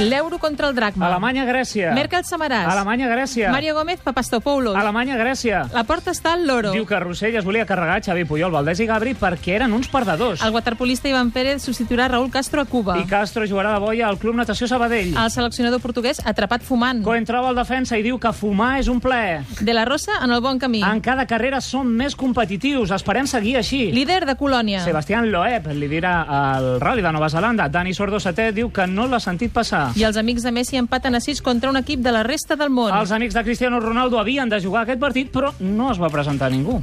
L'euro contra el dracma. Alemanya, Grècia. Merkel Samaràs. Alemanya, Grècia. Mario Gómez, Papastopoulos. Alemanya, Grècia. La porta està al loro. Diu que Rossell es volia carregar Xavi Puyol, Valdés i Gabri perquè eren uns perdedors. El waterpolista Ivan Pérez substituirà Raúl Castro a Cuba. I Castro jugarà de boia al Club Natació Sabadell. El seleccionador portuguès atrapat fumant. Cohen troba el defensa i diu que fumar és un plaer. De la Rosa en el bon camí. En cada carrera som més competitius, esperem seguir així. Líder de Colònia. Sebastián Loeb li dirà al Rally de Nova Zelanda. Dani Sordo setè diu que no l'ha sentit passar. I els amics de Messi empaten a 6 contra un equip de la resta del món. Els amics de Cristiano Ronaldo havien de jugar aquest partit, però no es va presentar ningú.